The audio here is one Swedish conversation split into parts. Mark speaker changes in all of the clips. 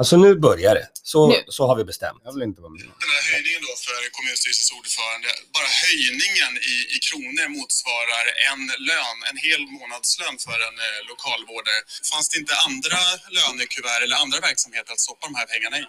Speaker 1: Alltså nu börjar det. Så,
Speaker 2: Nu.
Speaker 1: så har vi bestämt.
Speaker 3: Jag vill inte vara med.
Speaker 4: Den här höjningen då för kommunstyrelsens ordförande, bara höjningen i, i kronor motsvarar en lön, en hel månadslön för en eh, lokalvårdare. Fanns det inte andra lönekuvert eller andra verksamheter att stoppa de här pengarna i?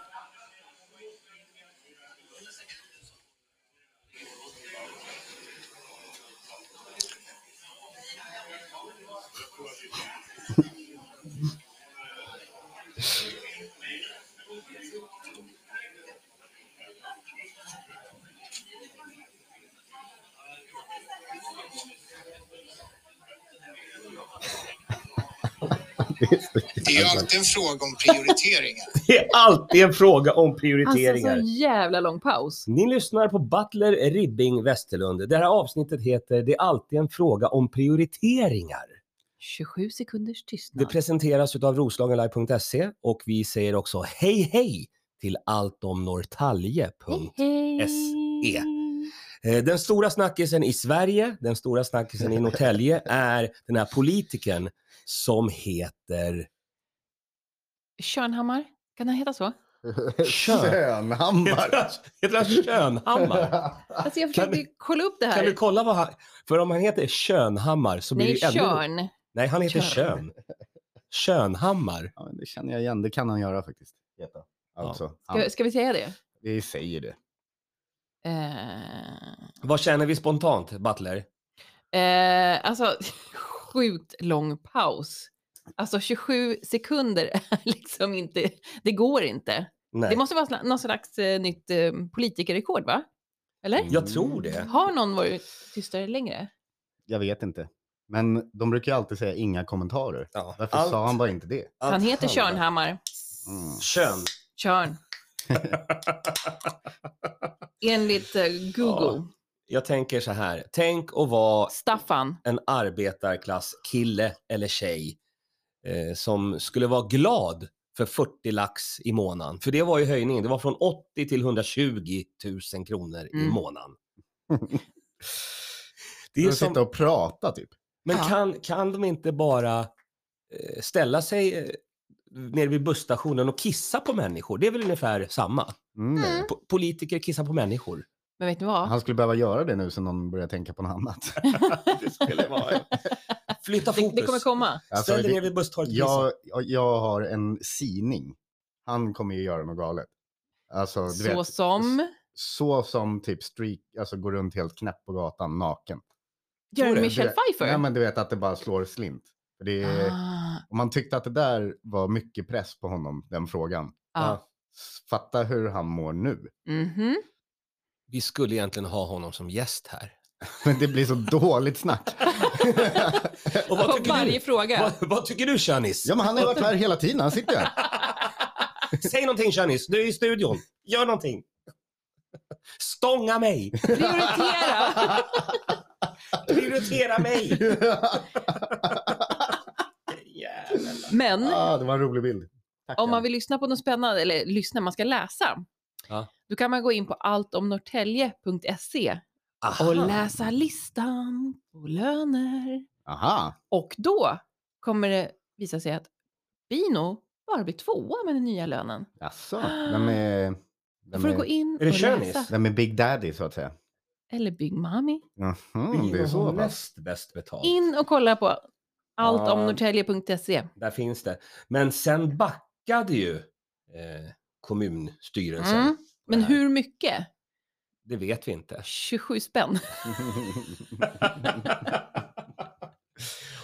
Speaker 5: Det är ju alltid en fråga om prioriteringar.
Speaker 1: Det är alltid en fråga om
Speaker 2: Alltså
Speaker 1: prioriteringar.
Speaker 2: sån jävla lång paus.
Speaker 1: Ni lyssnar på Butler Ribbing Westerlund. Det här avsnittet heter Det är alltid en fråga om prioriteringar.
Speaker 2: 27 sekunders
Speaker 1: Det
Speaker 2: tystnad.
Speaker 1: presenteras av roslagenlive.se och vi säger också hej hej till alltomnorrtalje.se.
Speaker 2: Hej,
Speaker 1: SE. Eh, Den stora snackisen i Sverige, den stora snackisen i Norrtälje är den här politikern som heter...
Speaker 2: Körnhammar, kan han heta
Speaker 1: Ah,
Speaker 2: så?
Speaker 1: Heter
Speaker 3: Könhammar.
Speaker 1: han- Heter han Könhammar?
Speaker 2: Alltså
Speaker 1: Kan
Speaker 2: jag försökte ju kolla upp det
Speaker 1: Kan du
Speaker 2: här.
Speaker 1: kolla vad han... För om han heter Könhammar så blir
Speaker 2: Nej,
Speaker 1: det ännu...
Speaker 2: Körn.
Speaker 1: Nej, han heter
Speaker 2: Körn.
Speaker 1: Kön. Könhammar.
Speaker 3: Ja, men det känner jag igen. Det kan han göra faktiskt. Heta. Alltså,
Speaker 2: Ska,
Speaker 3: han,
Speaker 2: ska vi säga det?
Speaker 3: vi säger det.
Speaker 2: Eh,
Speaker 1: Vad känner vi spontant, Butler?
Speaker 2: Eh, alltså, sjukt lång paus. Alltså 27 sekunder är liksom inte, det går inte.
Speaker 1: Nej.
Speaker 2: Det måste vara sla- någon slags eh, nytt eh, politikerrekord va? Eller?
Speaker 3: Mm.
Speaker 1: Jag tror det.
Speaker 2: Har någon varit tystare längre?
Speaker 3: Jag vet inte. Men de brukar ju alltid säga inga kommentarer.
Speaker 1: Ja.
Speaker 3: Varför
Speaker 1: Allt-
Speaker 3: sa han bara inte det?
Speaker 1: allt
Speaker 2: Han heter
Speaker 1: handlar-
Speaker 2: Körnhammar.
Speaker 3: Mm.
Speaker 1: Kön.
Speaker 2: Körn. Enligt eh, Google.
Speaker 1: Jag tänker så här. Tänk att vara
Speaker 2: Staffan.
Speaker 1: en arbetarklasskille eller tjej eh, som skulle vara glad för 40 lax i månaden. För det var ju höjningen. Det var från 80 till 120 000 kronor i
Speaker 2: Mm.
Speaker 1: månaden. det
Speaker 3: Det
Speaker 1: är
Speaker 3: är sitta
Speaker 1: som,
Speaker 3: och prata typ.
Speaker 1: men
Speaker 2: Ja.
Speaker 1: kan, kan de inte bara eh, ställa sig eh, nere vid busstationen och kissa på människor? Det är väl ungefär samma?
Speaker 3: Mm. det är det.
Speaker 1: Po- politiker kissar på människor.
Speaker 2: Men vet ni vad?
Speaker 3: Han skulle behöva göra det nu sen de börjar tänka på något annat.
Speaker 1: Det skulle vara... Flytta
Speaker 2: Det,
Speaker 1: fokus.
Speaker 2: det kommer komma.
Speaker 3: Alltså,
Speaker 1: Ställ dig
Speaker 3: det-
Speaker 1: ner vid busstorget och kissa.
Speaker 3: jag, jag- jag har en sining. Han kommer ju göra något galet. Alltså, du
Speaker 2: Så
Speaker 3: vet,
Speaker 2: som
Speaker 3: så som typ streak, alltså går runt helt knäpp på gatan naken.
Speaker 2: gör
Speaker 3: det,
Speaker 2: Michelle
Speaker 3: det- Nej,
Speaker 2: Pfeiffer.
Speaker 3: men du vet att det bara slår slint. För Det är,
Speaker 2: Ah,
Speaker 3: Om man tyckte att det där var mycket press på honom, den frågan.
Speaker 2: ah.
Speaker 3: S- Fatta hur han mår nu.
Speaker 2: Mhm.
Speaker 1: Vi skulle egentligen ha honom som gäst här.
Speaker 3: Men det blir så dåligt snack.
Speaker 1: Och vad
Speaker 2: På
Speaker 1: tycker
Speaker 2: varje
Speaker 1: du?
Speaker 2: fråga.
Speaker 1: Vad, vad tycker du Shanis?
Speaker 3: ja, men han har ju varit här hela tiden. Han sitter ju här.
Speaker 1: Säg någonting Shanis, du är i studion. Gör någonting. Stånga mig,
Speaker 2: Prioritera.
Speaker 1: prioritera mig. Jävlar.
Speaker 2: Men
Speaker 3: ah, det var en rolig bild. Tackar.
Speaker 2: om man vill lyssna på något spännande, eller lyssna, man ska läsa.
Speaker 1: Ja.
Speaker 2: Då kan man gå in på alltomnorrtälje.se
Speaker 1: Aha.
Speaker 2: och läsa listan på löner.
Speaker 3: Aha.
Speaker 2: Och då kommer det visa sig att Bino bara blir tvåa med den nya lönen.
Speaker 3: Jaså? Vem är,
Speaker 2: Då
Speaker 3: vem
Speaker 2: får du gå
Speaker 3: är,
Speaker 2: in
Speaker 1: Är det
Speaker 2: och
Speaker 1: Könis?
Speaker 2: läsa.
Speaker 3: vem är Big Daddy så att säga?
Speaker 2: Eller Big Mommy.
Speaker 3: Mhm, det är så pass.
Speaker 1: näst bäst betalt.
Speaker 2: In och kolla på alltomnorrtälje.se.
Speaker 1: Där finns det. Men sen backade ju eh, kommunstyrelsen.
Speaker 2: Mm.
Speaker 1: på det
Speaker 2: Men
Speaker 1: här.
Speaker 2: hur mycket?
Speaker 1: Det vet vi inte.
Speaker 2: 27 spänn.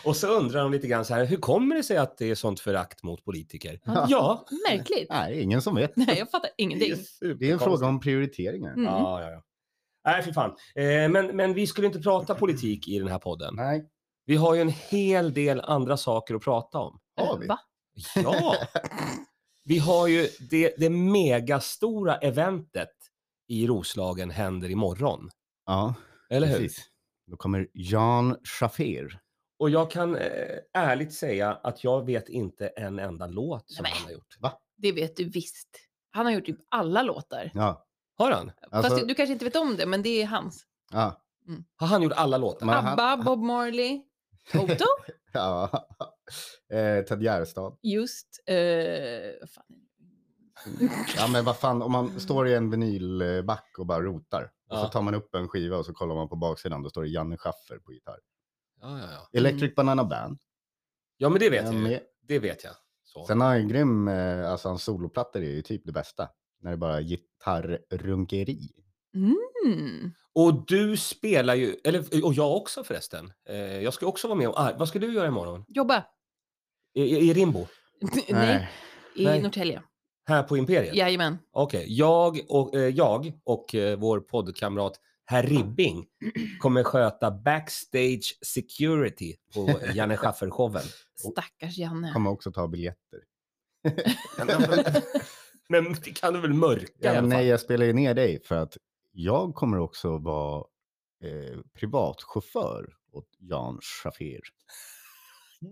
Speaker 1: Och så undrar de lite grann så här, hur kommer det sig att det är sånt förakt mot politiker?
Speaker 3: Ja.
Speaker 1: Ja,
Speaker 2: Märkligt.
Speaker 3: Nej, ingen som vet.
Speaker 2: Nej, jag fattar ingenting.
Speaker 3: Det är en fråga om prioriteringar.
Speaker 2: Mm.
Speaker 1: Ja, ja, ja. Nej, för fan. Eh, men, men vi skulle inte prata politik i den här podden.
Speaker 3: Nej,
Speaker 1: Vi har ju en hel del andra saker att prata om.
Speaker 3: har vi?
Speaker 2: Va?
Speaker 1: Ja! Vi har ju det, det megastora eventet i Roslagen händer imorgon.
Speaker 3: Ja,
Speaker 1: Eller hur?
Speaker 3: precis. Då kommer Jan Schaffer.
Speaker 1: Och jag kan eh, ärligt säga att jag vet inte en enda låt som
Speaker 2: Nej, men-
Speaker 1: han har gjort.
Speaker 2: Det vet du visst. Han har gjort typ alla låtar.
Speaker 3: Ja,
Speaker 1: Har han?
Speaker 3: alltså,
Speaker 2: Fast du kanske inte vet om det, men det är hans.
Speaker 3: ja,
Speaker 1: Har han gjort alla låtar?
Speaker 3: Men han-
Speaker 2: Abba, Bob Marley, Toto,
Speaker 3: ja. Eh, Ted Gärdestad.
Speaker 2: just... Eh, vad fan.
Speaker 3: Ja men vad fan, om man står i en vinylback och bara rotar. Och
Speaker 1: Ja.
Speaker 3: så tar man upp en skiva och så kollar man på baksidan, då står det Janne Schaffer på gitarr.
Speaker 1: Ja, ja, ja.
Speaker 3: Electric Banana Band.
Speaker 1: ja men det vet
Speaker 3: är
Speaker 1: jag. ju.
Speaker 3: med.
Speaker 1: Det vet jag. Så.
Speaker 3: Ehm, eh, Sen har han en grym, eh, alltså hans soloplattor är ju typ det bästa. När det bara är gitarrrunkeri.
Speaker 2: Mm.
Speaker 1: Och du spelar ju, eller och jag också förresten. Eh, jag ska också vara med och, ah, vad ska du göra imorgon?
Speaker 2: Jobba.
Speaker 1: I, i, i Rimbo?
Speaker 2: Nej, i
Speaker 1: Nej.
Speaker 2: Norrtälje.
Speaker 1: Här på Imperiet?
Speaker 2: Jajamän.
Speaker 1: Okej, jag och, eh, jag och eh, vår poddkamrat Herr Ribbing kommer sköta backstage security på Janne Schaffer-showen.
Speaker 2: Stackars Janne.
Speaker 3: Kommer också ta biljetter.
Speaker 1: Men det kan du väl mörka i
Speaker 3: Ja,
Speaker 1: alla
Speaker 3: men Eh, nej,
Speaker 1: fall?
Speaker 3: jag spelar ju ner dig för att jag kommer också vara eh, privatchaufför åt Jan Schaffer.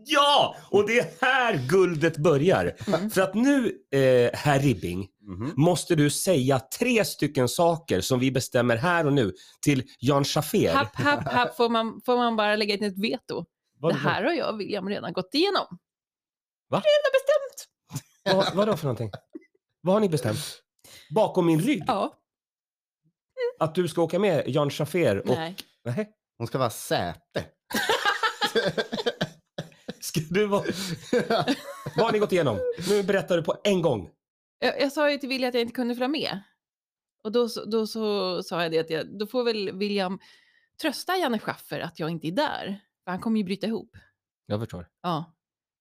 Speaker 1: Ja! Och det är här guldet börjar.
Speaker 2: Mm.
Speaker 1: För att nu, eh, Herr Ribbing,
Speaker 3: Mhm.
Speaker 1: måste du säga tre stycken saker som vi bestämmer här och nu till Jan Schaffer.
Speaker 2: Happ, happ, happ. Får man, får man bara lägga in ett veto?
Speaker 1: Vad-
Speaker 2: det här har jag och William redan gått igenom.
Speaker 1: Vad, vadå för någonting? Vad har ni bestämt? Bakom min rygg?
Speaker 2: Ja.
Speaker 1: Att du ska åka med Jan Schaffer och...
Speaker 2: Nej.
Speaker 1: Nej.
Speaker 3: Hon ska vara säte.
Speaker 1: Ska du vara... Vad har ni gått igenom? Nu berättar du på en gång.
Speaker 2: Jag, jag sa ju till William att jag inte kunde följa med. Och då, så- då så sa jag det att jag, då får väl William trösta Janne Schaffer att jag inte är där. För han kommer ju bryta ihop.
Speaker 1: Jag förstår.
Speaker 2: Ja.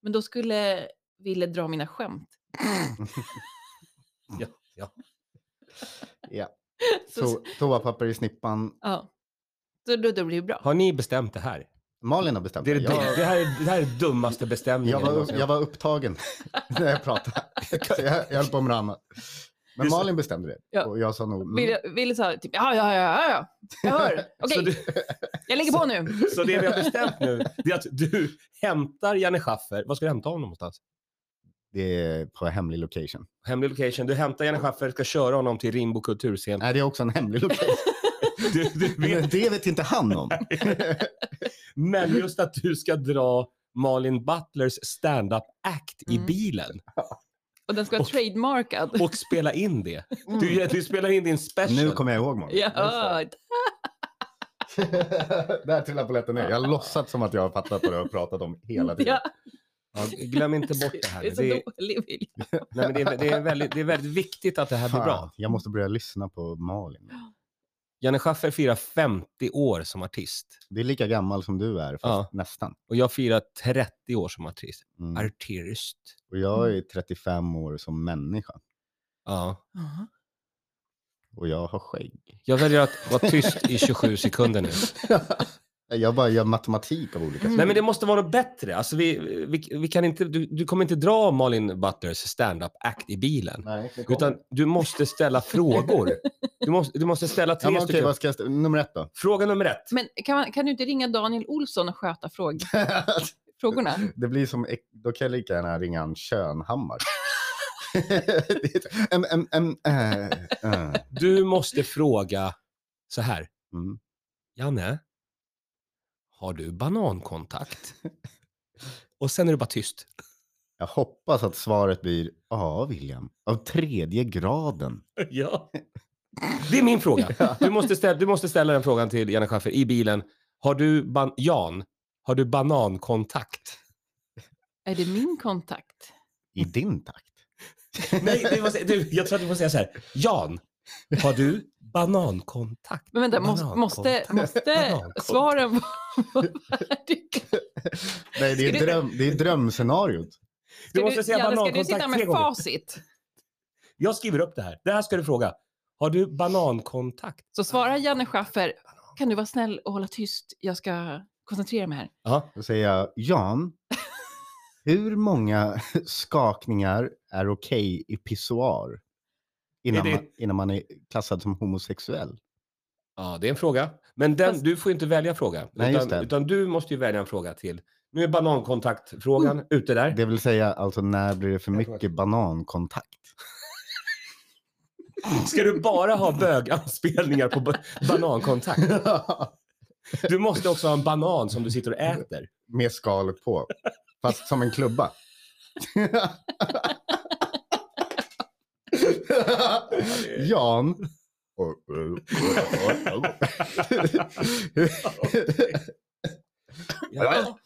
Speaker 2: Men då skulle Wille dra mina skämt.
Speaker 1: Ja, ja.
Speaker 3: Ja.
Speaker 2: Så,
Speaker 3: To-
Speaker 2: så,
Speaker 3: toapapper i snippan.
Speaker 2: ja. så då, då blir det bra.
Speaker 1: Har ni bestämt det här?
Speaker 3: Malin har bestämt
Speaker 1: Det, är det,
Speaker 3: Jag, var-
Speaker 1: det, här, är- det här är dummaste bestämningen.
Speaker 3: jag, var,
Speaker 1: någonsin.
Speaker 3: jag var upptagen när jag pratade. Så jag, jag höll på med något annat. Men
Speaker 1: Just-
Speaker 3: Malin bestämde det.
Speaker 2: Ja.
Speaker 3: Och jag sa nog... mm.
Speaker 2: Ville, Ville sa typ ja, ja, ja, ja, ja. jag hör. Okej,
Speaker 1: Så, du,
Speaker 2: jag lägger på nu.
Speaker 1: så det vi har bestämt nu, det är att du hämtar Janne Schaffer. Vad ska du hämta honom någonstans?
Speaker 3: Det är på hemlig location.
Speaker 1: Hemlig location. Du hämtar Janne Schaffer, ska köra honom till Rimbo kulturscen.
Speaker 3: Nej, det är också en hemlig location.
Speaker 1: Du, du
Speaker 3: Men
Speaker 1: vet,
Speaker 3: det vet inte han om.
Speaker 1: men just att du ska dra Malin Butlers stand-up act i
Speaker 2: Mm.
Speaker 1: bilen
Speaker 2: Och den ska vara
Speaker 1: Och-
Speaker 2: trademarkad.
Speaker 1: och spela in det.
Speaker 2: Mm.
Speaker 1: Du, du spelar in din special.
Speaker 3: Nu kommer jag ihåg Malin.
Speaker 2: Ja,
Speaker 3: Där trillade polletten ner. Jag har låtsats som att jag har fattat vad du har pratat om hela tiden.
Speaker 2: ja,
Speaker 1: Ja, glöm inte bort det här.
Speaker 2: det är så
Speaker 1: Det är,
Speaker 2: dålig Wille.
Speaker 1: nej, men det, är, det, är väldigt, det är väldigt viktigt att det här blir
Speaker 3: Fan,
Speaker 1: bra.
Speaker 3: Jag måste börja lyssna på Malin.
Speaker 1: Janne Schaffer firar 50 år som artist.
Speaker 3: Det är lika gammal som du är, fast
Speaker 1: Ja.
Speaker 3: nästan.
Speaker 1: Och jag firar 30 år som artist.
Speaker 3: Mm.
Speaker 1: Artist.
Speaker 3: Och jag är 35 år som människa.
Speaker 1: Ja.
Speaker 2: Ja.
Speaker 3: Och jag har skägg.
Speaker 1: Jag väljer att vara tyst i 27 sekunder nu.
Speaker 3: Jag bara gör matematik av olika
Speaker 2: Mm.
Speaker 1: Nej men det måste vara något bättre. Alltså, vi, vi, vi kan inte, du, du kommer inte dra Malin Butlers stand-up act i bilen.
Speaker 3: Nej, det kommer.
Speaker 1: Utan du måste ställa frågor. Du måste, du måste ställa
Speaker 3: ja,
Speaker 1: tre
Speaker 3: men okej,
Speaker 1: stycken.
Speaker 3: vad ska jag st- Nummer ett då.
Speaker 1: Fråga nummer ett.
Speaker 2: Men kan, man, kan du inte ringa Daniel Olsson och sköta fråg, frågorna?
Speaker 3: det blir som, ek- då kan jag lika gärna ringa en Könhammar. Det är så- em, em, em, eh, eh.
Speaker 1: Du måste fråga så här.
Speaker 3: Mm.
Speaker 1: Janne, har du banankontakt? Och sen är du bara tyst.
Speaker 3: Jag hoppas att svaret blir ja, William, av tredje graden.
Speaker 1: Ja. Det är min fråga. Du måste ställa, du måste ställa den frågan till Janne Schaffer i bilen. Har du, ban- Jan, har du banankontakt?
Speaker 2: Är det min kontakt?
Speaker 3: I din takt.
Speaker 1: Nej, det var, du, jag tror att du får säga så här. Jan, har du banankontakt?
Speaker 2: Men vänta, måste,
Speaker 1: Banankontakt.
Speaker 2: måste, måste
Speaker 1: Banankontakt.
Speaker 2: svaren vara värdiga?
Speaker 3: Nej, det är,
Speaker 2: Ska du-
Speaker 3: dröm, det är drömscenariot.
Speaker 1: Du måste säga
Speaker 2: Janne, ska du
Speaker 1: banankontakt
Speaker 2: sitta med
Speaker 1: tre gånger.
Speaker 2: facit?
Speaker 1: Jag skriver upp det här. Det här ska du fråga. Har du banankontakt?
Speaker 2: Så svarar Janne Schaffer, kan du vara snäll och hålla tyst? Jag ska koncentrera mig här.
Speaker 1: Ja.
Speaker 3: Då säger jag, Jan, hur många skakningar är okej i pissoar innan,
Speaker 1: Är det-
Speaker 3: man, innan man är klassad som homosexuell?
Speaker 1: ja, det är en fråga. Men den,
Speaker 2: Fast-
Speaker 1: du får inte välja fråga.
Speaker 3: Nej, just
Speaker 1: utan,
Speaker 3: det.
Speaker 1: utan du måste ju välja en fråga till. Nu är banankontaktfrågan ute där.
Speaker 3: Det vill säga, alltså när blir det för
Speaker 1: Jag tror
Speaker 3: mycket banankontakt?
Speaker 1: Ska du bara ha böganspelningar på ba- banankontakt? Du måste också ha en banan som du sitter och äter.
Speaker 3: Med skalet på, fast som en klubba. Jan.
Speaker 1: Ja.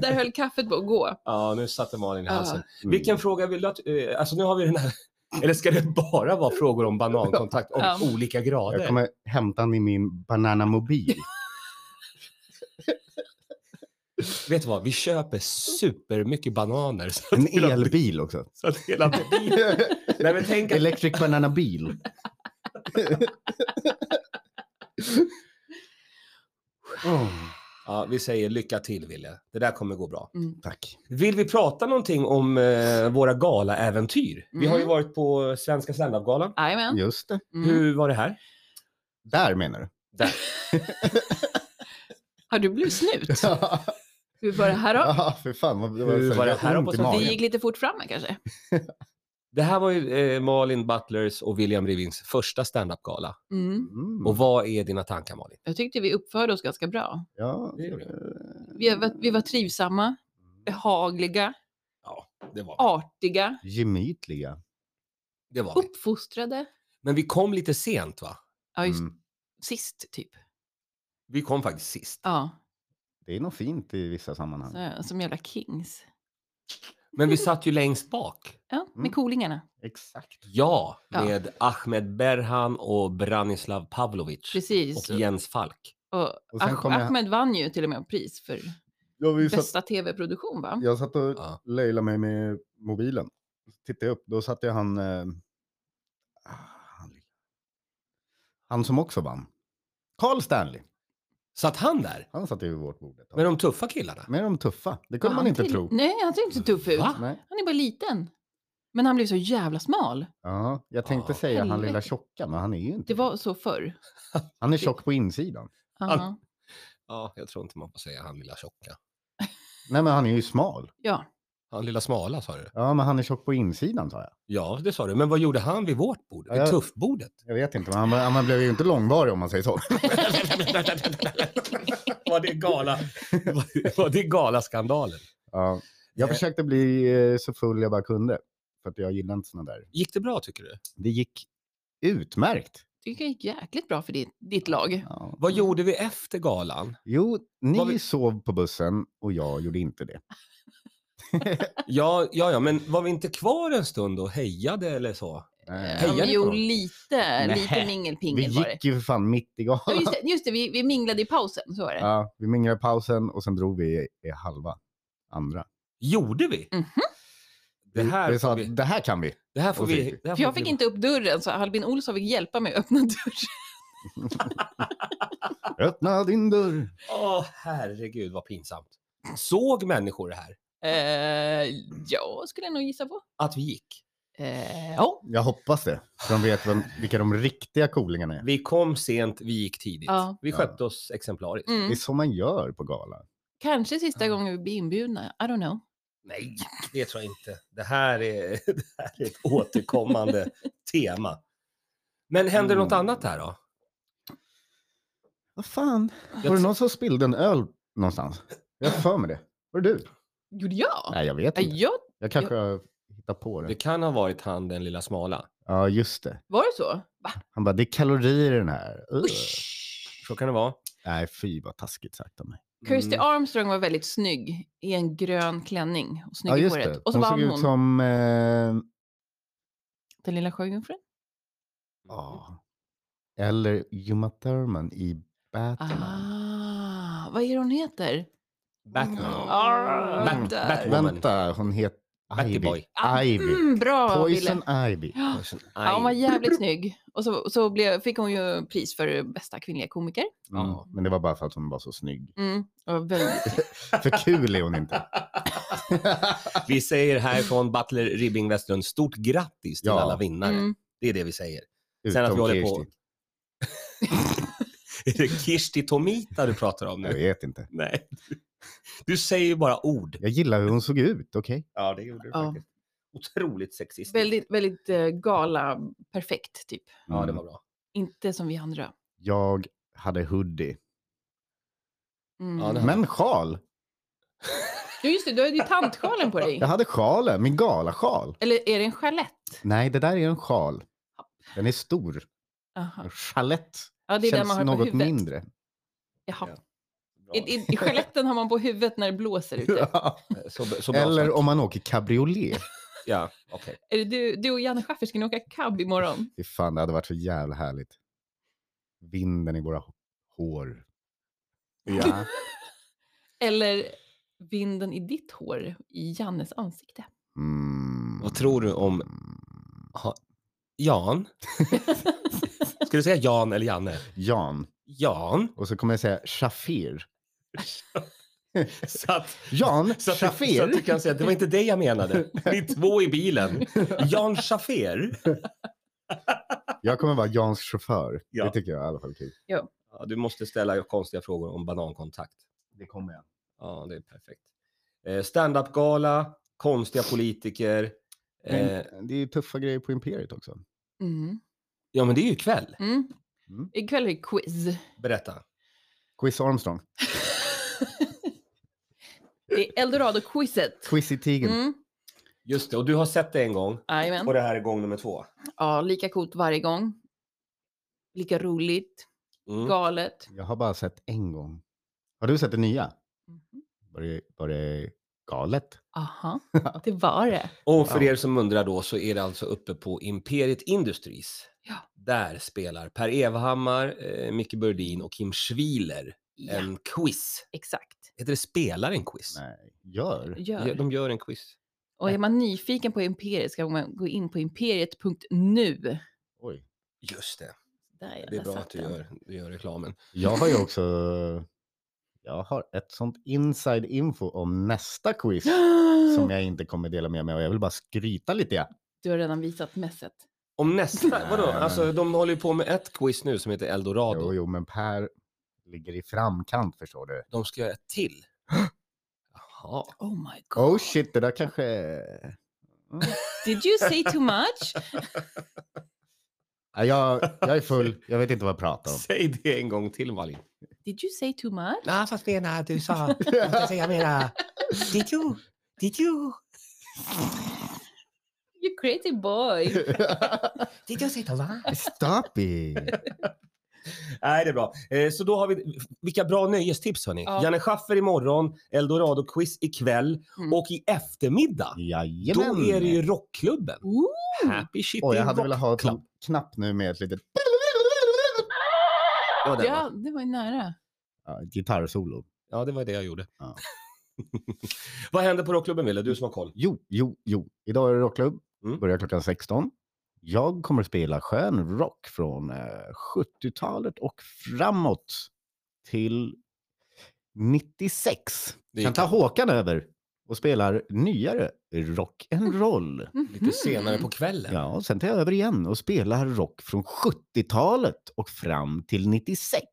Speaker 2: Där höll kaffet på att gå.
Speaker 1: ja, nu satte Malin i halsen.
Speaker 3: Mm.
Speaker 1: Vilken fråga vill du att... eh, Alltså nu har vi den här... Eller ska det bara vara frågor om banankontakt och
Speaker 2: Ja.
Speaker 1: olika grader?
Speaker 3: Jag kommer hämta den i min bananamobil.
Speaker 1: Vet du vad? Vi köper supermycket bananer. Så
Speaker 3: En elbil också.
Speaker 1: så att hela mobilen... Nej, men tänk att
Speaker 3: Electric bananabil. Oh,
Speaker 1: Ja, vi säger lycka till, Ville. Det där kommer gå bra.
Speaker 3: tack.
Speaker 1: Vill vi prata någonting om eh, våra galaäventyr? Vi har ju varit på Svenska standupgalan.
Speaker 2: Jajamän.
Speaker 3: Just det.
Speaker 2: Mm.
Speaker 1: Hur var det här?
Speaker 3: Där menar du?
Speaker 2: Har du blivit snut? Hur var det här då?
Speaker 3: Ja, för fan. Vad, det
Speaker 1: Hur
Speaker 3: så
Speaker 1: var det
Speaker 3: jävla
Speaker 1: här
Speaker 3: ont
Speaker 1: på
Speaker 3: i
Speaker 1: sånt?
Speaker 2: Vi
Speaker 3: magen.
Speaker 2: gick lite fort fram här kanske.
Speaker 1: Det här var ju eh, Malin Butlers och William Rivins första standupgala.
Speaker 2: Mm.
Speaker 3: Mm.
Speaker 1: Och vad är dina tankar, Malin?
Speaker 2: Jag tyckte vi uppförde oss ganska bra.
Speaker 3: ja, eh,
Speaker 1: Det gjorde
Speaker 2: Vi var, vi var trivsamma,
Speaker 3: Mm.
Speaker 2: behagliga,
Speaker 1: Det var
Speaker 2: artiga,
Speaker 3: gemytliga.
Speaker 1: Det var vi.
Speaker 2: uppfostrade.
Speaker 1: Men vi kom lite sent, va?
Speaker 2: Ja, just
Speaker 3: Mm.
Speaker 2: sist typ.
Speaker 1: Vi kom faktiskt sist.
Speaker 2: Ja,
Speaker 3: Det är nog fint i vissa sammanhang.
Speaker 2: så, som jävla kings.
Speaker 1: Men vi satt ju längst bak.
Speaker 2: Ja, med
Speaker 3: Mm.
Speaker 2: kolingarna.
Speaker 3: Exakt.
Speaker 1: Ja,
Speaker 2: Ja.
Speaker 1: med Ahmed Berhan och Branislav Pavlovic.
Speaker 2: Precis.
Speaker 1: Och Jens Falk.
Speaker 2: Och
Speaker 3: Och sen
Speaker 2: Ach-
Speaker 3: kom jag-
Speaker 2: Ahmed vann ju till och med pris för
Speaker 3: Jag, vi satt,
Speaker 2: bästa tv-produktion va?
Speaker 3: jag satt och
Speaker 1: Ja.
Speaker 3: löjlade mig med mobilen. Tittade jag upp, då satte jag han... Eh, ah, han, han som också vann. Carl Stanley.
Speaker 1: Satt han där?
Speaker 3: Han satt ju vid vårt bord ett tag.
Speaker 1: Med de tuffa killarna?
Speaker 3: Med de tuffa. Det kunde
Speaker 2: Ja, han
Speaker 3: man inte
Speaker 2: till-
Speaker 3: tro.
Speaker 2: Nej, han ser inte så tuff ut.
Speaker 1: Va?
Speaker 3: Nej.
Speaker 2: Han är bara liten. Men han blev så jävla smal.
Speaker 3: Ja, jag tänkte
Speaker 1: Ja.
Speaker 3: säga han lilla
Speaker 2: Helvete.
Speaker 3: tjocka, men han är ju inte
Speaker 2: Det var så förr.
Speaker 3: Han är tjock på insidan.
Speaker 2: Aha.
Speaker 1: Allt. Ja, jag tror inte man får säga han lilla tjocka.
Speaker 3: Nej, men han är ju smal.
Speaker 2: Ja,
Speaker 1: Han lilla smala sa du?
Speaker 3: Ja, men han är tjock på insidan, sa jag.
Speaker 1: Ja, det sa du. Men vad gjorde han vid vårt bord? Vid
Speaker 3: Ja, jag-
Speaker 1: tuffbordet?
Speaker 3: Jag vet inte, men han, han, blev ju inte långvarig om man säger så.
Speaker 1: var det gala? Var, var det galaskandalen?
Speaker 3: Ja. Jag försökte bli eh, så full jag bara kunde, för att jag gillar inte såna där.
Speaker 1: Gick det bra tycker du?
Speaker 3: Det gick utmärkt.
Speaker 2: det gick jäkligt bra för ditt, ditt lag.
Speaker 3: Ja.
Speaker 1: Vad gjorde vi efter galan?
Speaker 3: Jo, ni
Speaker 1: Vad vi-
Speaker 3: sov på bussen och jag gjorde inte det.
Speaker 1: Ja, ja, ja, men var vi inte kvar en stund och hejade eller så?
Speaker 3: Nej.
Speaker 1: Hejade
Speaker 2: Ja, men
Speaker 1: ni på
Speaker 2: jo,
Speaker 1: dem?
Speaker 2: lite,
Speaker 1: Nähä.
Speaker 2: lite
Speaker 3: Eh, Vi
Speaker 2: mingelpingel Eh, var det.
Speaker 3: gick ju för fan mitt i
Speaker 2: Ja,
Speaker 3: gatan.
Speaker 2: just det, just det vi, vi minglade i pausen, så var det.
Speaker 3: Ja, vi minglade i pausen och sen drog vi i, i halva andra.
Speaker 1: Gjorde vi?
Speaker 2: Mhm.
Speaker 1: Det här
Speaker 3: vi sa
Speaker 1: får
Speaker 3: att
Speaker 1: vi...
Speaker 3: det här kan vi.
Speaker 1: Det här får
Speaker 3: Och så gick
Speaker 1: vi...
Speaker 3: vi.
Speaker 1: Det här
Speaker 2: För jag
Speaker 1: får
Speaker 2: fick
Speaker 1: vi-
Speaker 2: inte upp dörren så Albin Olsson fick hjälpa mig att öppna dörren.
Speaker 3: Öppna din dörr.
Speaker 1: Åh, herregud vad pinsamt. Såg människor det här?
Speaker 2: Eh, ja, skulle jag nog gissa på.
Speaker 1: Att vi gick?
Speaker 2: Eh, ja.
Speaker 3: Jag hoppas det. För de vet vem, vilka de riktiga coolingarna är.
Speaker 1: Vi kom sent, vi gick tidigt.
Speaker 2: Ja.
Speaker 1: Vi
Speaker 3: Ja.
Speaker 1: skötte oss exemplariskt.
Speaker 3: Det är
Speaker 2: Mm.
Speaker 3: så man gör på gala.
Speaker 2: Kanske sista gången vi blir inbjudna. I don't know.
Speaker 1: Nej, det tror jag inte. Det här är, det här är ett återkommande tema. Men hände något
Speaker 3: Mm.
Speaker 1: annat där då?
Speaker 3: Vad fan?
Speaker 1: Jag
Speaker 3: Var det
Speaker 1: tr-
Speaker 3: någon som spillde en öl någonstans? Jag har för mig det. Var det du?
Speaker 2: Gjorde jag?
Speaker 3: Nej, jag vet
Speaker 2: Nej.
Speaker 3: inte.
Speaker 2: Jag,
Speaker 3: Jag kanske har hittat på
Speaker 1: Det
Speaker 3: det.
Speaker 1: kan ha varit han den lilla smala.
Speaker 3: Ja, just det.
Speaker 2: var det så? Va?
Speaker 3: Han bara, det är kalorier i den här. Ugh.
Speaker 2: Usch!
Speaker 1: Så kan det vara. Mm,
Speaker 3: Nej, fy vad taskigt sagt av mig.
Speaker 2: Kirsty
Speaker 3: Mm.
Speaker 2: Armstrong var väldigt snygg i en grön klänning och snygg
Speaker 3: Ja,
Speaker 2: i
Speaker 3: just
Speaker 2: håret.
Speaker 3: det.
Speaker 2: Och så
Speaker 3: Hon
Speaker 2: vann
Speaker 3: såg
Speaker 2: hon Mm.
Speaker 3: ut som... Eh,
Speaker 2: den lilla sjöjungfrun.
Speaker 3: ja. eller Uma Thurman i Batman.
Speaker 2: Ah, vad är det hon heter?
Speaker 1: Batman.
Speaker 2: Ah,
Speaker 1: Bat-
Speaker 2: där.
Speaker 1: Batwoman.
Speaker 3: Vänta, hon heter Ivy.
Speaker 1: Batboy.
Speaker 3: Ivy.
Speaker 2: Mm, bra, Wille.
Speaker 3: Poison Ivy.
Speaker 2: Ja,
Speaker 1: Ja,
Speaker 2: hon var jävligt snygg. Och så, så blev, fick hon ju pris för bästa kvinnliga komiker.
Speaker 3: Mm.
Speaker 1: Ja.
Speaker 3: Men det var bara för att hon var så snygg.
Speaker 2: Mm. Och väldigt,
Speaker 3: För kul är hon inte.
Speaker 1: Vi säger härifrån Butler Ribbing Westlund, stort grattis till
Speaker 3: Ja.
Speaker 1: alla vinnare.
Speaker 2: mm.
Speaker 1: Det är det vi säger. Sen att vi
Speaker 3: Utom
Speaker 1: håller på...
Speaker 3: Kirsty.
Speaker 1: Är det Kirsti Tomita du pratar om
Speaker 3: Jag
Speaker 1: nu?
Speaker 3: vet inte.
Speaker 1: Nej. Du säger ju bara ord.
Speaker 3: Jag gillar hur hon såg ut, okej?
Speaker 1: Ja, det gjorde du
Speaker 2: Ja.
Speaker 1: faktiskt. Otroligt sexistiskt.
Speaker 2: väldigt, väldigt eh, gala, perfekt typ.
Speaker 1: Ja, det
Speaker 3: Mm.
Speaker 1: var bra.
Speaker 2: Inte som vi andra.
Speaker 3: Jag hade hoodie.
Speaker 2: Mm.
Speaker 1: Ja, det-
Speaker 3: Men sjal!
Speaker 2: Ja, just det, du har ju tantsjalen på dig.
Speaker 3: Jag hade sjalen, min galasjal.
Speaker 2: Eller är det en chalett?
Speaker 3: Nej, det där är en sjal. Den är stor.
Speaker 2: Jaha.
Speaker 3: En chalett
Speaker 2: Ja, det är den
Speaker 3: känns
Speaker 2: man har på
Speaker 3: något
Speaker 2: huvudet.
Speaker 3: mindre.
Speaker 2: Jaha.
Speaker 1: Bra.
Speaker 2: I, i, i Skeletten har man på huvudet när det blåser ute.
Speaker 3: Ja.
Speaker 1: Så, så bra
Speaker 3: Eller
Speaker 1: sagt.
Speaker 3: om man åker cabriolet.
Speaker 1: Ja, okej.
Speaker 2: Är det du, du och Janne Schaffer, ska ni åka cab imorgon?
Speaker 3: Fy fan, det hade varit så jävla härligt. Vinden i våra h- hår. Ja.
Speaker 2: Eller vinden i ditt hår i Jannes ansikte?
Speaker 3: Mm.
Speaker 1: Vad tror du om Jan? Ska du säga Jan eller Janne?
Speaker 3: Jan.
Speaker 1: Jan.
Speaker 3: Och så kommer jag säga Shafir.
Speaker 1: Så att,
Speaker 3: Jan
Speaker 1: så, att, så att du
Speaker 3: Shafir.
Speaker 1: kan säga att det var inte det jag menade. Ni två i bilen. Jan Schaffer.
Speaker 3: Jag kommer vara Jans chaufför.
Speaker 1: Ja.
Speaker 3: Det tycker jag i alla fall är kul.
Speaker 1: Ja, du måste ställa konstiga frågor om banankontakt.
Speaker 3: Det kommer jag.
Speaker 1: Ja, det är perfekt. Eh, Standup-gala, konstiga politiker. Eh,
Speaker 3: Men det är ju tuffa grejer på Imperiet också.
Speaker 2: Mm.
Speaker 1: ja, men det är ju ikväll.
Speaker 2: Mm.
Speaker 3: Mm.
Speaker 2: Ikväll är det quiz.
Speaker 1: Berätta.
Speaker 3: Quiz Armstrong.
Speaker 2: Det är Eldorado-quizet.
Speaker 3: Quiz i tigern.
Speaker 2: Mm.
Speaker 1: Just det, och du har sett det en gång.
Speaker 2: Jajamän.
Speaker 1: Och det här är gång nummer två.
Speaker 2: Ja, lika coolt varje gång. Lika roligt,
Speaker 1: Mm.
Speaker 2: galet.
Speaker 3: Jag har bara sett en gång. Har du sett det nya?
Speaker 2: Mhm.
Speaker 3: Var det, var det galet?
Speaker 2: Aha, det var det.
Speaker 1: Och för
Speaker 3: Ja.
Speaker 1: er som undrar då så är det alltså uppe på Imperiet Industries.
Speaker 2: Ja.
Speaker 1: Där spelar Per Evhammar, eh, Micke Burdin och Kim Schwiler
Speaker 2: Ja,
Speaker 1: en quiz.
Speaker 2: exakt.
Speaker 1: Heter det spelar en quiz?
Speaker 3: Nej. Gör?
Speaker 1: Ja,
Speaker 2: Gör.
Speaker 1: De gör en quiz.
Speaker 2: Och är man nyfiken på Imperiet ska man gå in på imperiet.nu.
Speaker 3: Oj.
Speaker 1: Just det.
Speaker 2: Där jag
Speaker 1: Det är bra
Speaker 2: satt
Speaker 1: att du
Speaker 2: den.
Speaker 1: gör, du gör reklamen.
Speaker 3: Jag har ju också... Jag har ett sånt inside info om nästa quiz som jag inte kommer dela med mig av. Jag vill bara skryta lite. Ja.
Speaker 2: Du har redan visat mässet.
Speaker 1: Om nästa, vadå?
Speaker 3: Nej.
Speaker 1: Alltså de håller ju på med ett quiz nu som heter Eldorado.
Speaker 3: Jo, jo, men Per ligger i framkant förstår du.
Speaker 1: De ska göra ett till. Jaha.
Speaker 2: Oh my god.
Speaker 3: Oh shit, det där kanske... Mm.
Speaker 2: Did you say too much?
Speaker 3: Nej, Jag, jag är full, jag vet inte vad jag pratar om.
Speaker 1: Säg det en gång till Malin.
Speaker 2: Did you say too much?
Speaker 1: Ja, fast menar du sa... Jag menar... Did you? Did you?
Speaker 2: You crazy boy.
Speaker 1: Did you say the
Speaker 3: Stop it!
Speaker 1: Nej, det är bra. Eh, Så då har vi, vilka bra nöjestips hörni.
Speaker 2: Ja.
Speaker 1: Janne Schaffer imorgon, Eldorado-quiz ikväll
Speaker 2: Mm.
Speaker 1: och i eftermiddag,
Speaker 3: Jajamän!
Speaker 1: då är det ju rockklubben.
Speaker 2: Ooh.
Speaker 1: Happy shit
Speaker 3: Oj, jag
Speaker 1: in
Speaker 3: hade velat ha
Speaker 1: rockclub.
Speaker 3: en knapp nu med ett litet
Speaker 1: Ja, det
Speaker 2: Ja,
Speaker 1: var-
Speaker 2: det var ju nära.
Speaker 3: ja, ett gitarrsolo.
Speaker 1: ja, det var det jag gjorde.
Speaker 3: Ja.
Speaker 1: Vad händer på rockklubben, Wille? Du som har koll.
Speaker 3: Jo, jo, jo. Idag är det rockklubb.
Speaker 1: Mm.
Speaker 3: Börjar klockan 16. Jag kommer att spela skön rock från eh, 70-talet och framåt till 96.
Speaker 1: Det är
Speaker 3: kan ta Håkan över och spelar nyare rock
Speaker 1: Mm.
Speaker 3: and roll.
Speaker 2: Mhm.
Speaker 1: Lite senare på kvällen.
Speaker 3: Mm. Ja, och sen tar jag över igen och spelar rock från 70-talet och fram till 96.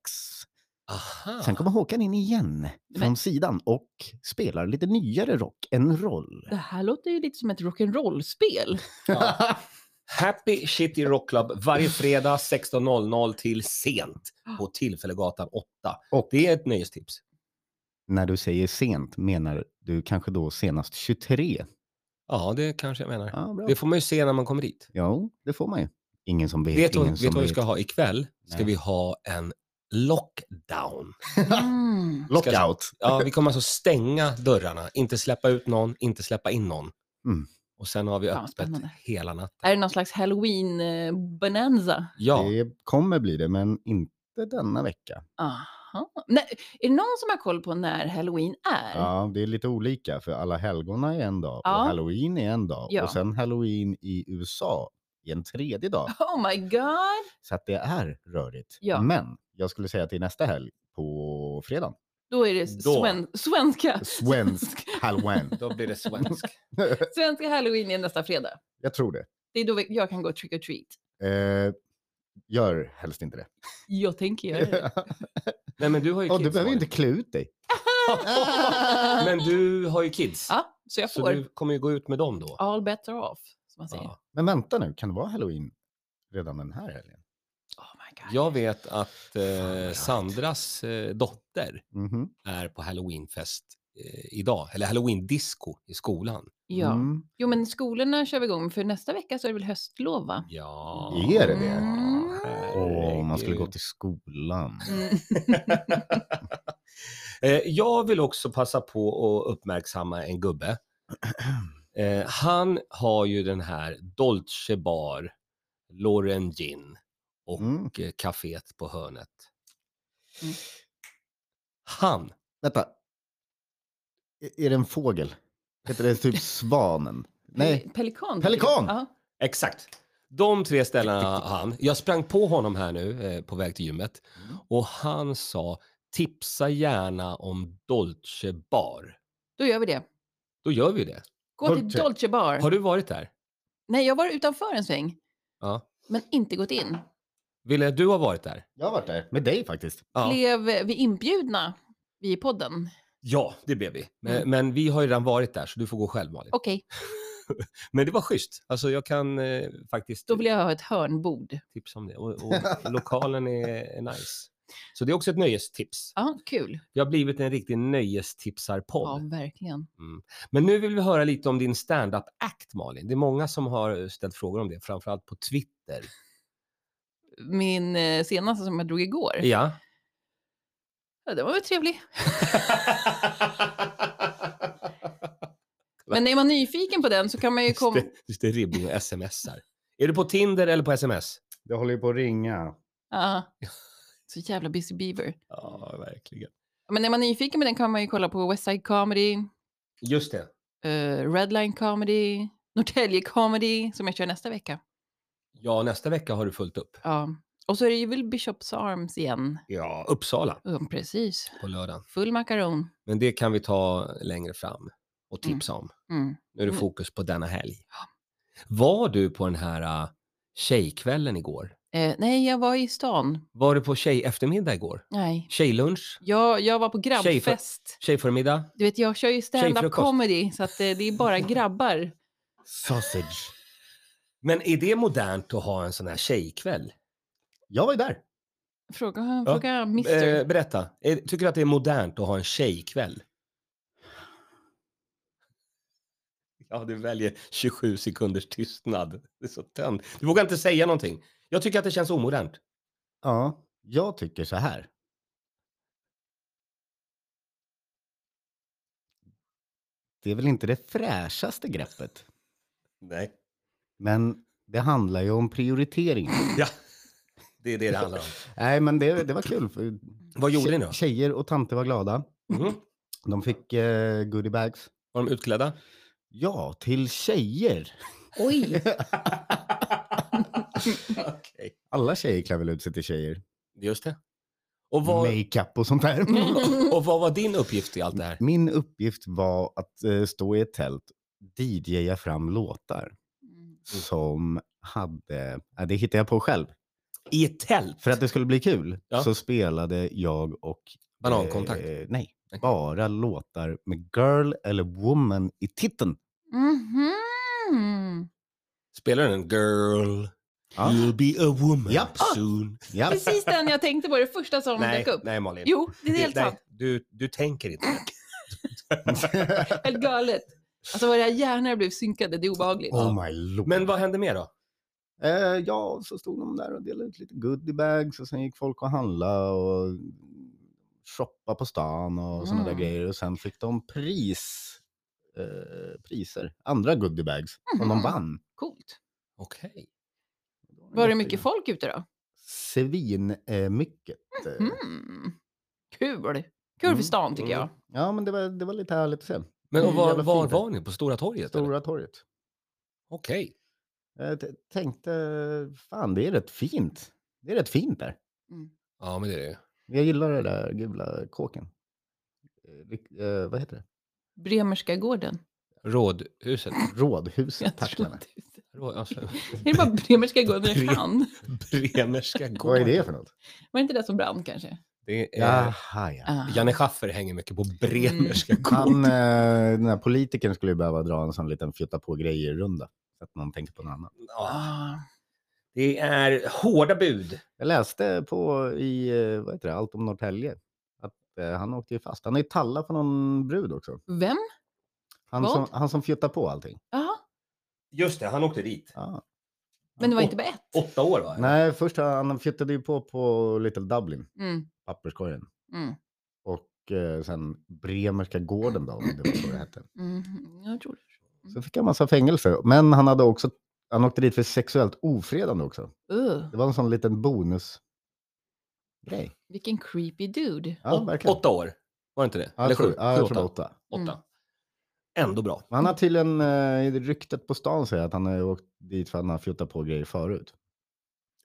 Speaker 1: Aha.
Speaker 3: Sen kommer Håkan in igen från
Speaker 2: Men-
Speaker 3: sidan och spelar lite nyare rock än roll.
Speaker 2: Det här låter ju lite som ett rock'n'roll-spel.
Speaker 1: Ja. Happy City Rock Club varje fredag 16.00 till sent på Tillfällegatan 8.
Speaker 3: Och-
Speaker 1: Det är ett nöjestips.
Speaker 3: När du säger sent menar du kanske då senast 23?
Speaker 1: Ja, det kanske jag menar.
Speaker 3: Ja, bra.
Speaker 1: Det får man ju se när man kommer dit.
Speaker 3: Jo, det får man ju. Ingen som vet.
Speaker 1: Vet du
Speaker 3: ingen
Speaker 1: vet du
Speaker 3: som
Speaker 1: vad vi ska ha ikväll? Ska
Speaker 3: Nej.
Speaker 1: vi ha en lockdown.
Speaker 2: Mm.
Speaker 3: Lockout.
Speaker 1: Ja, vi kommer alltså stänga dörrarna, inte släppa ut någon, inte släppa in någon.
Speaker 3: Mm.
Speaker 1: Och sen har vi
Speaker 2: Fan,
Speaker 1: öppet
Speaker 2: spännande.
Speaker 1: hela natten.
Speaker 2: Är det någon slags eh, halloween-bonanza?
Speaker 1: Ja,
Speaker 3: Det kommer bli det, men inte denna vecka.
Speaker 2: Aha. Nej, är det någon som har koll på när halloween är?
Speaker 3: Ja, det är lite olika för alla helgona är en dag och
Speaker 2: Ja.
Speaker 3: halloween är en dag
Speaker 2: Ja.
Speaker 3: och sen halloween i USA är en tredje dag.
Speaker 2: Oh my god!
Speaker 3: Så att det är rörigt.
Speaker 2: Ja.
Speaker 3: Men jag skulle säga till nästa helg på fredag.
Speaker 2: Då är det
Speaker 1: Då.
Speaker 2: sven- svenska.
Speaker 3: Svensk halloween.
Speaker 1: då blir det svensk.
Speaker 2: svenska halloween är nästa fredag.
Speaker 3: Jag tror det.
Speaker 2: Det är då vi- jag kan gå trick or treat.
Speaker 3: Eh, gör helst inte det.
Speaker 2: Jag tänker göra det.
Speaker 1: Nej, men du har ju
Speaker 3: Ja,
Speaker 1: kids.
Speaker 3: du behöver ju
Speaker 1: Malin.
Speaker 3: inte klä ut dig.
Speaker 1: Men du har ju kids.
Speaker 2: Ja, så jag
Speaker 1: Så
Speaker 2: får.
Speaker 1: du kommer ju gå ut med dem då.
Speaker 2: All better off, som man säger.
Speaker 1: Ja.
Speaker 3: Men vänta nu, kan det vara halloween redan den här helgen?
Speaker 2: Oh my god.
Speaker 1: Jag vet att
Speaker 3: vad
Speaker 1: eh,
Speaker 3: roligt.
Speaker 1: Sandras eh, dotter
Speaker 3: Mhm.
Speaker 1: är på halloweenfest eh, idag, eller halloween-disco i skolan.
Speaker 2: Ja.
Speaker 3: Mm.
Speaker 2: Jo, men skolorna kör vi igång för nästa vecka så är det väl höstlov, va?
Speaker 1: Ja.
Speaker 3: Är det det?
Speaker 2: Mm.
Speaker 3: Åh, man skulle
Speaker 1: Herregud.
Speaker 3: gå till skolan.
Speaker 2: Mm.
Speaker 1: Eh, Jag vill också passa på att uppmärksamma en gubbe. Eh, Han har ju den här Dolce Bar, Lauren Gin och
Speaker 3: Mm.
Speaker 1: eh, Caféet på hörnet.
Speaker 2: Mm.
Speaker 1: Han,
Speaker 3: Vänta. Är- Är det en fågel? Heter det typ svanen? Nej.
Speaker 2: Pelikan.
Speaker 3: Pelikan!
Speaker 2: Ja.
Speaker 1: exakt. De tre ställena har han. Jag sprang på honom här nu eh, på väg till gymmet
Speaker 2: Mm.
Speaker 1: och han sa tipsa gärna om Dolce Bar.
Speaker 2: Då gör vi det.
Speaker 1: Då gör vi det.
Speaker 2: Gå till
Speaker 3: Dolce.
Speaker 2: Dolce Bar.
Speaker 1: Har du varit där?
Speaker 2: Nej, jag var utanför en sväng,
Speaker 1: Ja.
Speaker 2: men inte gått in.
Speaker 1: Ville, du har varit där?
Speaker 3: Jag har varit där. Med dig faktiskt.
Speaker 1: Ja.
Speaker 2: Blev vi inbjudna, vi i podden?
Speaker 1: Ja, det blev vi. Men,
Speaker 2: Mm.
Speaker 1: men vi har ju redan varit där så du får gå själv Malin.
Speaker 2: Okej,
Speaker 1: Men det var schysst. Alltså jag kan eh, faktiskt
Speaker 2: då vill jag ha ett hörnbord.
Speaker 1: tipsa om det. Och, och lokalen är, är nice. Så det är också ett nöjestips.
Speaker 2: Ja, kul.
Speaker 1: Vi har blivit en riktig
Speaker 2: Ja,
Speaker 1: nöjestipsarpodd.
Speaker 2: verkligen.
Speaker 1: Men nu vill vi höra lite om din stand-up act Malin. Det är många som har eh, ställt frågor om det, framförallt på Twitter.
Speaker 2: Min eh, senaste som jag drog igår,
Speaker 1: Ja.
Speaker 2: ja, den var väl trevlig. Men är man nyfiken på den så kan man ju komma...
Speaker 1: Just det, just det Ribbing och smsar. Är du på Tinder eller på sms?
Speaker 3: Det håller ju på att ringa.
Speaker 2: Ja. Så jävla busy beaver.
Speaker 1: Ja, verkligen.
Speaker 2: Men är man nyfiken på den kan man ju kolla på West Side Comedy,
Speaker 1: Just det.
Speaker 2: eh, Redline Comedy, Norrtälje Comedy som jag kör nästa vecka.
Speaker 1: Ja, nästa vecka har du fullt upp.
Speaker 2: Ja. Och så är det ju väl Bishops Arms igen.
Speaker 1: Ja, Uppsala
Speaker 2: Ja, precis.
Speaker 1: på lördagen.
Speaker 2: Full makaron.
Speaker 1: Men det kan vi ta längre fram och tipsa om.
Speaker 2: Mm.
Speaker 1: Nu är det
Speaker 2: Mm.
Speaker 1: fokus på denna helg. Var du på den här uh, tjejkvällen igår?
Speaker 2: Eh, nej, jag var i stan.
Speaker 1: Var du på tjej eftermiddag igår?
Speaker 2: Nej.
Speaker 1: Tjejlunch?
Speaker 2: Jag, jag var på grabbfest.
Speaker 1: Tjejförmiddag?
Speaker 2: Du vet, jag kör ju stand-up
Speaker 1: Tjejfrukost.
Speaker 2: comedy så att eh, det är bara grabbar.
Speaker 3: Sausage.
Speaker 1: Men är det modernt att ha en sån här tjejkväll?
Speaker 3: Jag var ju där.
Speaker 2: Fråga,
Speaker 1: Ja.
Speaker 2: fråga mister.
Speaker 1: Eh, berätta, är, tycker du att det är modernt att ha en tjejkväll? Ja, du väljer 27 sekunders tystnad. Det är så tönt. Du vågar inte säga någonting. Jag tycker att det känns omodernt.
Speaker 3: Ja, jag tycker så här. Det är väl inte det fräschaste greppet,
Speaker 1: Nej.
Speaker 3: men det handlar ju om prioriteringar.
Speaker 1: Ja, det är det det handlar om.
Speaker 3: Nej, men det, det var kul. för
Speaker 1: Vad gjorde
Speaker 3: tje-
Speaker 1: ni då?
Speaker 3: Tjejer och tanter var glada.
Speaker 1: Mhm.
Speaker 3: De fick eh, goodiebags.
Speaker 1: Var de utklädda?
Speaker 3: Ja, till tjejer.
Speaker 2: Oj!
Speaker 1: Okej.
Speaker 3: Alla tjejer klär väl ut sig till tjejer.
Speaker 1: Just det. Och vad,
Speaker 3: Makeup och sånt där.
Speaker 1: och vad var din uppgift i allt det här?
Speaker 3: Min uppgift var att eh, stå i ett tält, DJa fram låtar som hade, ja, det hittade jag på själv.
Speaker 1: I ett tält?
Speaker 3: För att det skulle bli kul
Speaker 1: Ja.
Speaker 3: så spelade jag och...
Speaker 1: Banankontakt?
Speaker 3: Eh, nej,
Speaker 1: Nej.
Speaker 3: bara låtar med girl eller woman i titeln.
Speaker 2: Mhm.
Speaker 1: Spelar den Girl,
Speaker 3: Ja.
Speaker 1: you'll be a woman
Speaker 3: Japp.
Speaker 1: soon?
Speaker 3: Ja. Oh
Speaker 2: Precis den jag tänkte på, det första som
Speaker 1: Nej,
Speaker 2: dök upp.
Speaker 1: nej Malin.
Speaker 2: Jo, det är helt
Speaker 1: Nej,
Speaker 2: sant.
Speaker 1: Du, du tänker inte.
Speaker 2: Helt galet. Alltså våra hjärnor blev synkade, det är obehagligt.
Speaker 3: oh my lord.
Speaker 1: Men vad hände mer då?
Speaker 3: Eh, ja, så stod de där och delade ut lite goodiebags och sen gick folk och handlade och shoppa på stan och såna där
Speaker 2: Mm.
Speaker 3: grejer. Och sen fick de pris, eh, priser, andra goodiebags som de
Speaker 2: Mhm.
Speaker 3: vann.
Speaker 2: Coolt.
Speaker 1: Okej.
Speaker 2: Var det mycket folk ute då?
Speaker 3: Svin, eh, mycket. eh.
Speaker 2: Mm. Kul. Kul
Speaker 3: Mm,
Speaker 2: för stan tycker jag.
Speaker 3: Ja, men det var, det var lite härligt att se.
Speaker 1: Men och
Speaker 3: Mm,
Speaker 1: var,
Speaker 3: jävla
Speaker 1: var
Speaker 3: fint.
Speaker 1: var ni? På Stora torget? eller?
Speaker 3: Stora torget.
Speaker 1: Okej.
Speaker 3: Jag t- tänkte, fan det är rätt fint. Det är rätt fint där.
Speaker 1: Ja, men det är det ju.
Speaker 3: Jag gillar det där gula kåken. Eh, rik- Eh, vad heter det?
Speaker 2: Bremerska gården.
Speaker 1: Rådhuset.
Speaker 3: Rådhuset,
Speaker 2: Jag
Speaker 3: tack
Speaker 2: trodde
Speaker 3: Lena.
Speaker 2: inte-
Speaker 1: Råd, alltså,
Speaker 2: Är det bara Bremerska gården
Speaker 1: Bre-
Speaker 2: jag kan?
Speaker 1: Bremerska
Speaker 3: Vad är
Speaker 1: gården.
Speaker 3: det för något?
Speaker 2: Var det inte det som brann kanske? Eh,
Speaker 1: Det är,
Speaker 3: Jaha, ja.
Speaker 2: Ah.
Speaker 1: Janne Schaffer hänger mycket på
Speaker 2: Mm.
Speaker 1: Bremerska gården.
Speaker 3: Han, eh, den här politikern skulle ju behöva dra en sån liten fjutta på grejer-runda. Så att man tänker på något annat.
Speaker 1: Ja,
Speaker 2: Ah.
Speaker 1: det är hårda bud.
Speaker 3: Jag läste på i, eh, vad heter det, Allt om Norrtälje. Att att eh, han åkte ju fast. Han har ju tallat för någon brud också.
Speaker 2: eh, Vem?
Speaker 3: Han
Speaker 2: Vad?
Speaker 3: som, han som fjuttar på allting.
Speaker 2: Jaha,
Speaker 1: Just det, han åkte dit.
Speaker 3: Ja.
Speaker 2: men det var inte bara ett.
Speaker 1: Åtta år va?
Speaker 3: Nej, först han han fjuttade ju på på Little Dublin,
Speaker 2: Mm,
Speaker 3: papperskorgen.
Speaker 2: mm,
Speaker 3: Och eh, sen Bremerska gården då, om det var så det hette.
Speaker 2: mm, jag tror det.
Speaker 3: Så fick han massa fängelse. Men han hade också, han åkte dit för sexuellt ofredande också.
Speaker 2: Ugh,
Speaker 3: Det var en sån liten bonusgrej.
Speaker 2: vilken creepy dude.
Speaker 3: Ja,
Speaker 1: Åt-
Speaker 3: verkligen.
Speaker 1: åtta år, var det inte det?
Speaker 3: Ja,
Speaker 1: Eller
Speaker 3: jag tror,
Speaker 1: sju?
Speaker 3: ja,
Speaker 1: Sju,
Speaker 3: jag tror det
Speaker 1: åtta.
Speaker 3: var åtta.
Speaker 2: Mm.
Speaker 1: åtta. Ändå bra.
Speaker 3: Men han har tydligen, eh, i ryktet på stan säger att han har ju åkt dit för att han har fjuttat på grejer förut.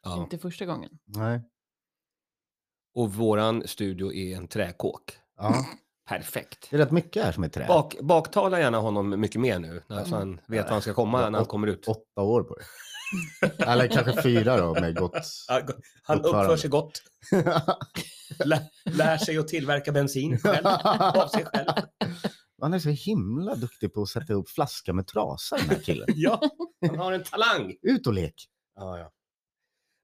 Speaker 1: Ja.
Speaker 2: Inte första gången.
Speaker 3: Nej.
Speaker 1: Och våran studio är en träkåk.
Speaker 3: Ja.
Speaker 1: Perfekt.
Speaker 3: Det är rätt mycket här som är trä.
Speaker 1: Bak, baktala gärna honom mycket mer nu, när- så han vet var han ska komma när han kommer ut.
Speaker 3: Åtta år på det. Eller kanske fyra då med gott.
Speaker 1: Han uppför
Speaker 3: Uppförande.
Speaker 1: sig gott, lär, lär sig att tillverka bensin själv, av sig själv.
Speaker 3: Han är så himla duktig på att sätta upp flaska med trasa den här killen.
Speaker 1: Ja, han har en talang.
Speaker 3: Ut och lek.
Speaker 1: Ja, ja.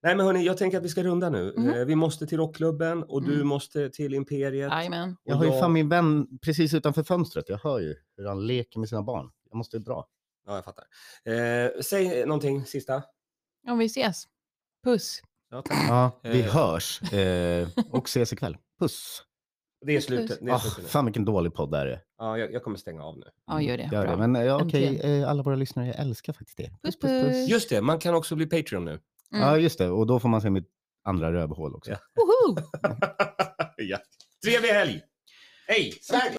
Speaker 1: Nej, men hörni, jag tänker att vi ska runda nu.
Speaker 2: Mhm.
Speaker 1: Eh, Vi måste till rockklubben och du
Speaker 2: Mm.
Speaker 1: måste till Imperiet.
Speaker 2: Jajamän.
Speaker 3: Jag
Speaker 1: Och
Speaker 3: har ju
Speaker 1: jag-
Speaker 3: fan min vän precis utanför fönstret. Jag hör ju hur han leker med sina barn. Jag måste ju dra.
Speaker 1: Ja, jag fattar. Eh, säg någonting sista.
Speaker 2: Om vi ses. Puss.
Speaker 1: Ja, tack.
Speaker 3: Ja, vi
Speaker 1: Eh.
Speaker 3: hörs eh, och ses ikväll. Puss!
Speaker 1: Det är slutet. Det är
Speaker 3: Ah,
Speaker 1: slutet nu.
Speaker 3: fan vilken dålig podd det här är.
Speaker 1: Ja, jag, jag kommer stänga av nu.
Speaker 2: Ja, gör det.
Speaker 3: Gör
Speaker 2: Bra.
Speaker 3: det. Men eh, ja, okej,
Speaker 2: Äntligen.
Speaker 3: eh, alla våra lyssnare, jag älskar faktiskt er.
Speaker 2: Puss, puss.
Speaker 1: Just det, man kan också bli Patreon nu.
Speaker 2: Mm.
Speaker 3: Ja, just det. Och då får man se mitt andra rövhål också.
Speaker 1: Ja.
Speaker 2: Woho!
Speaker 1: ja. Trevlig helg! Hej!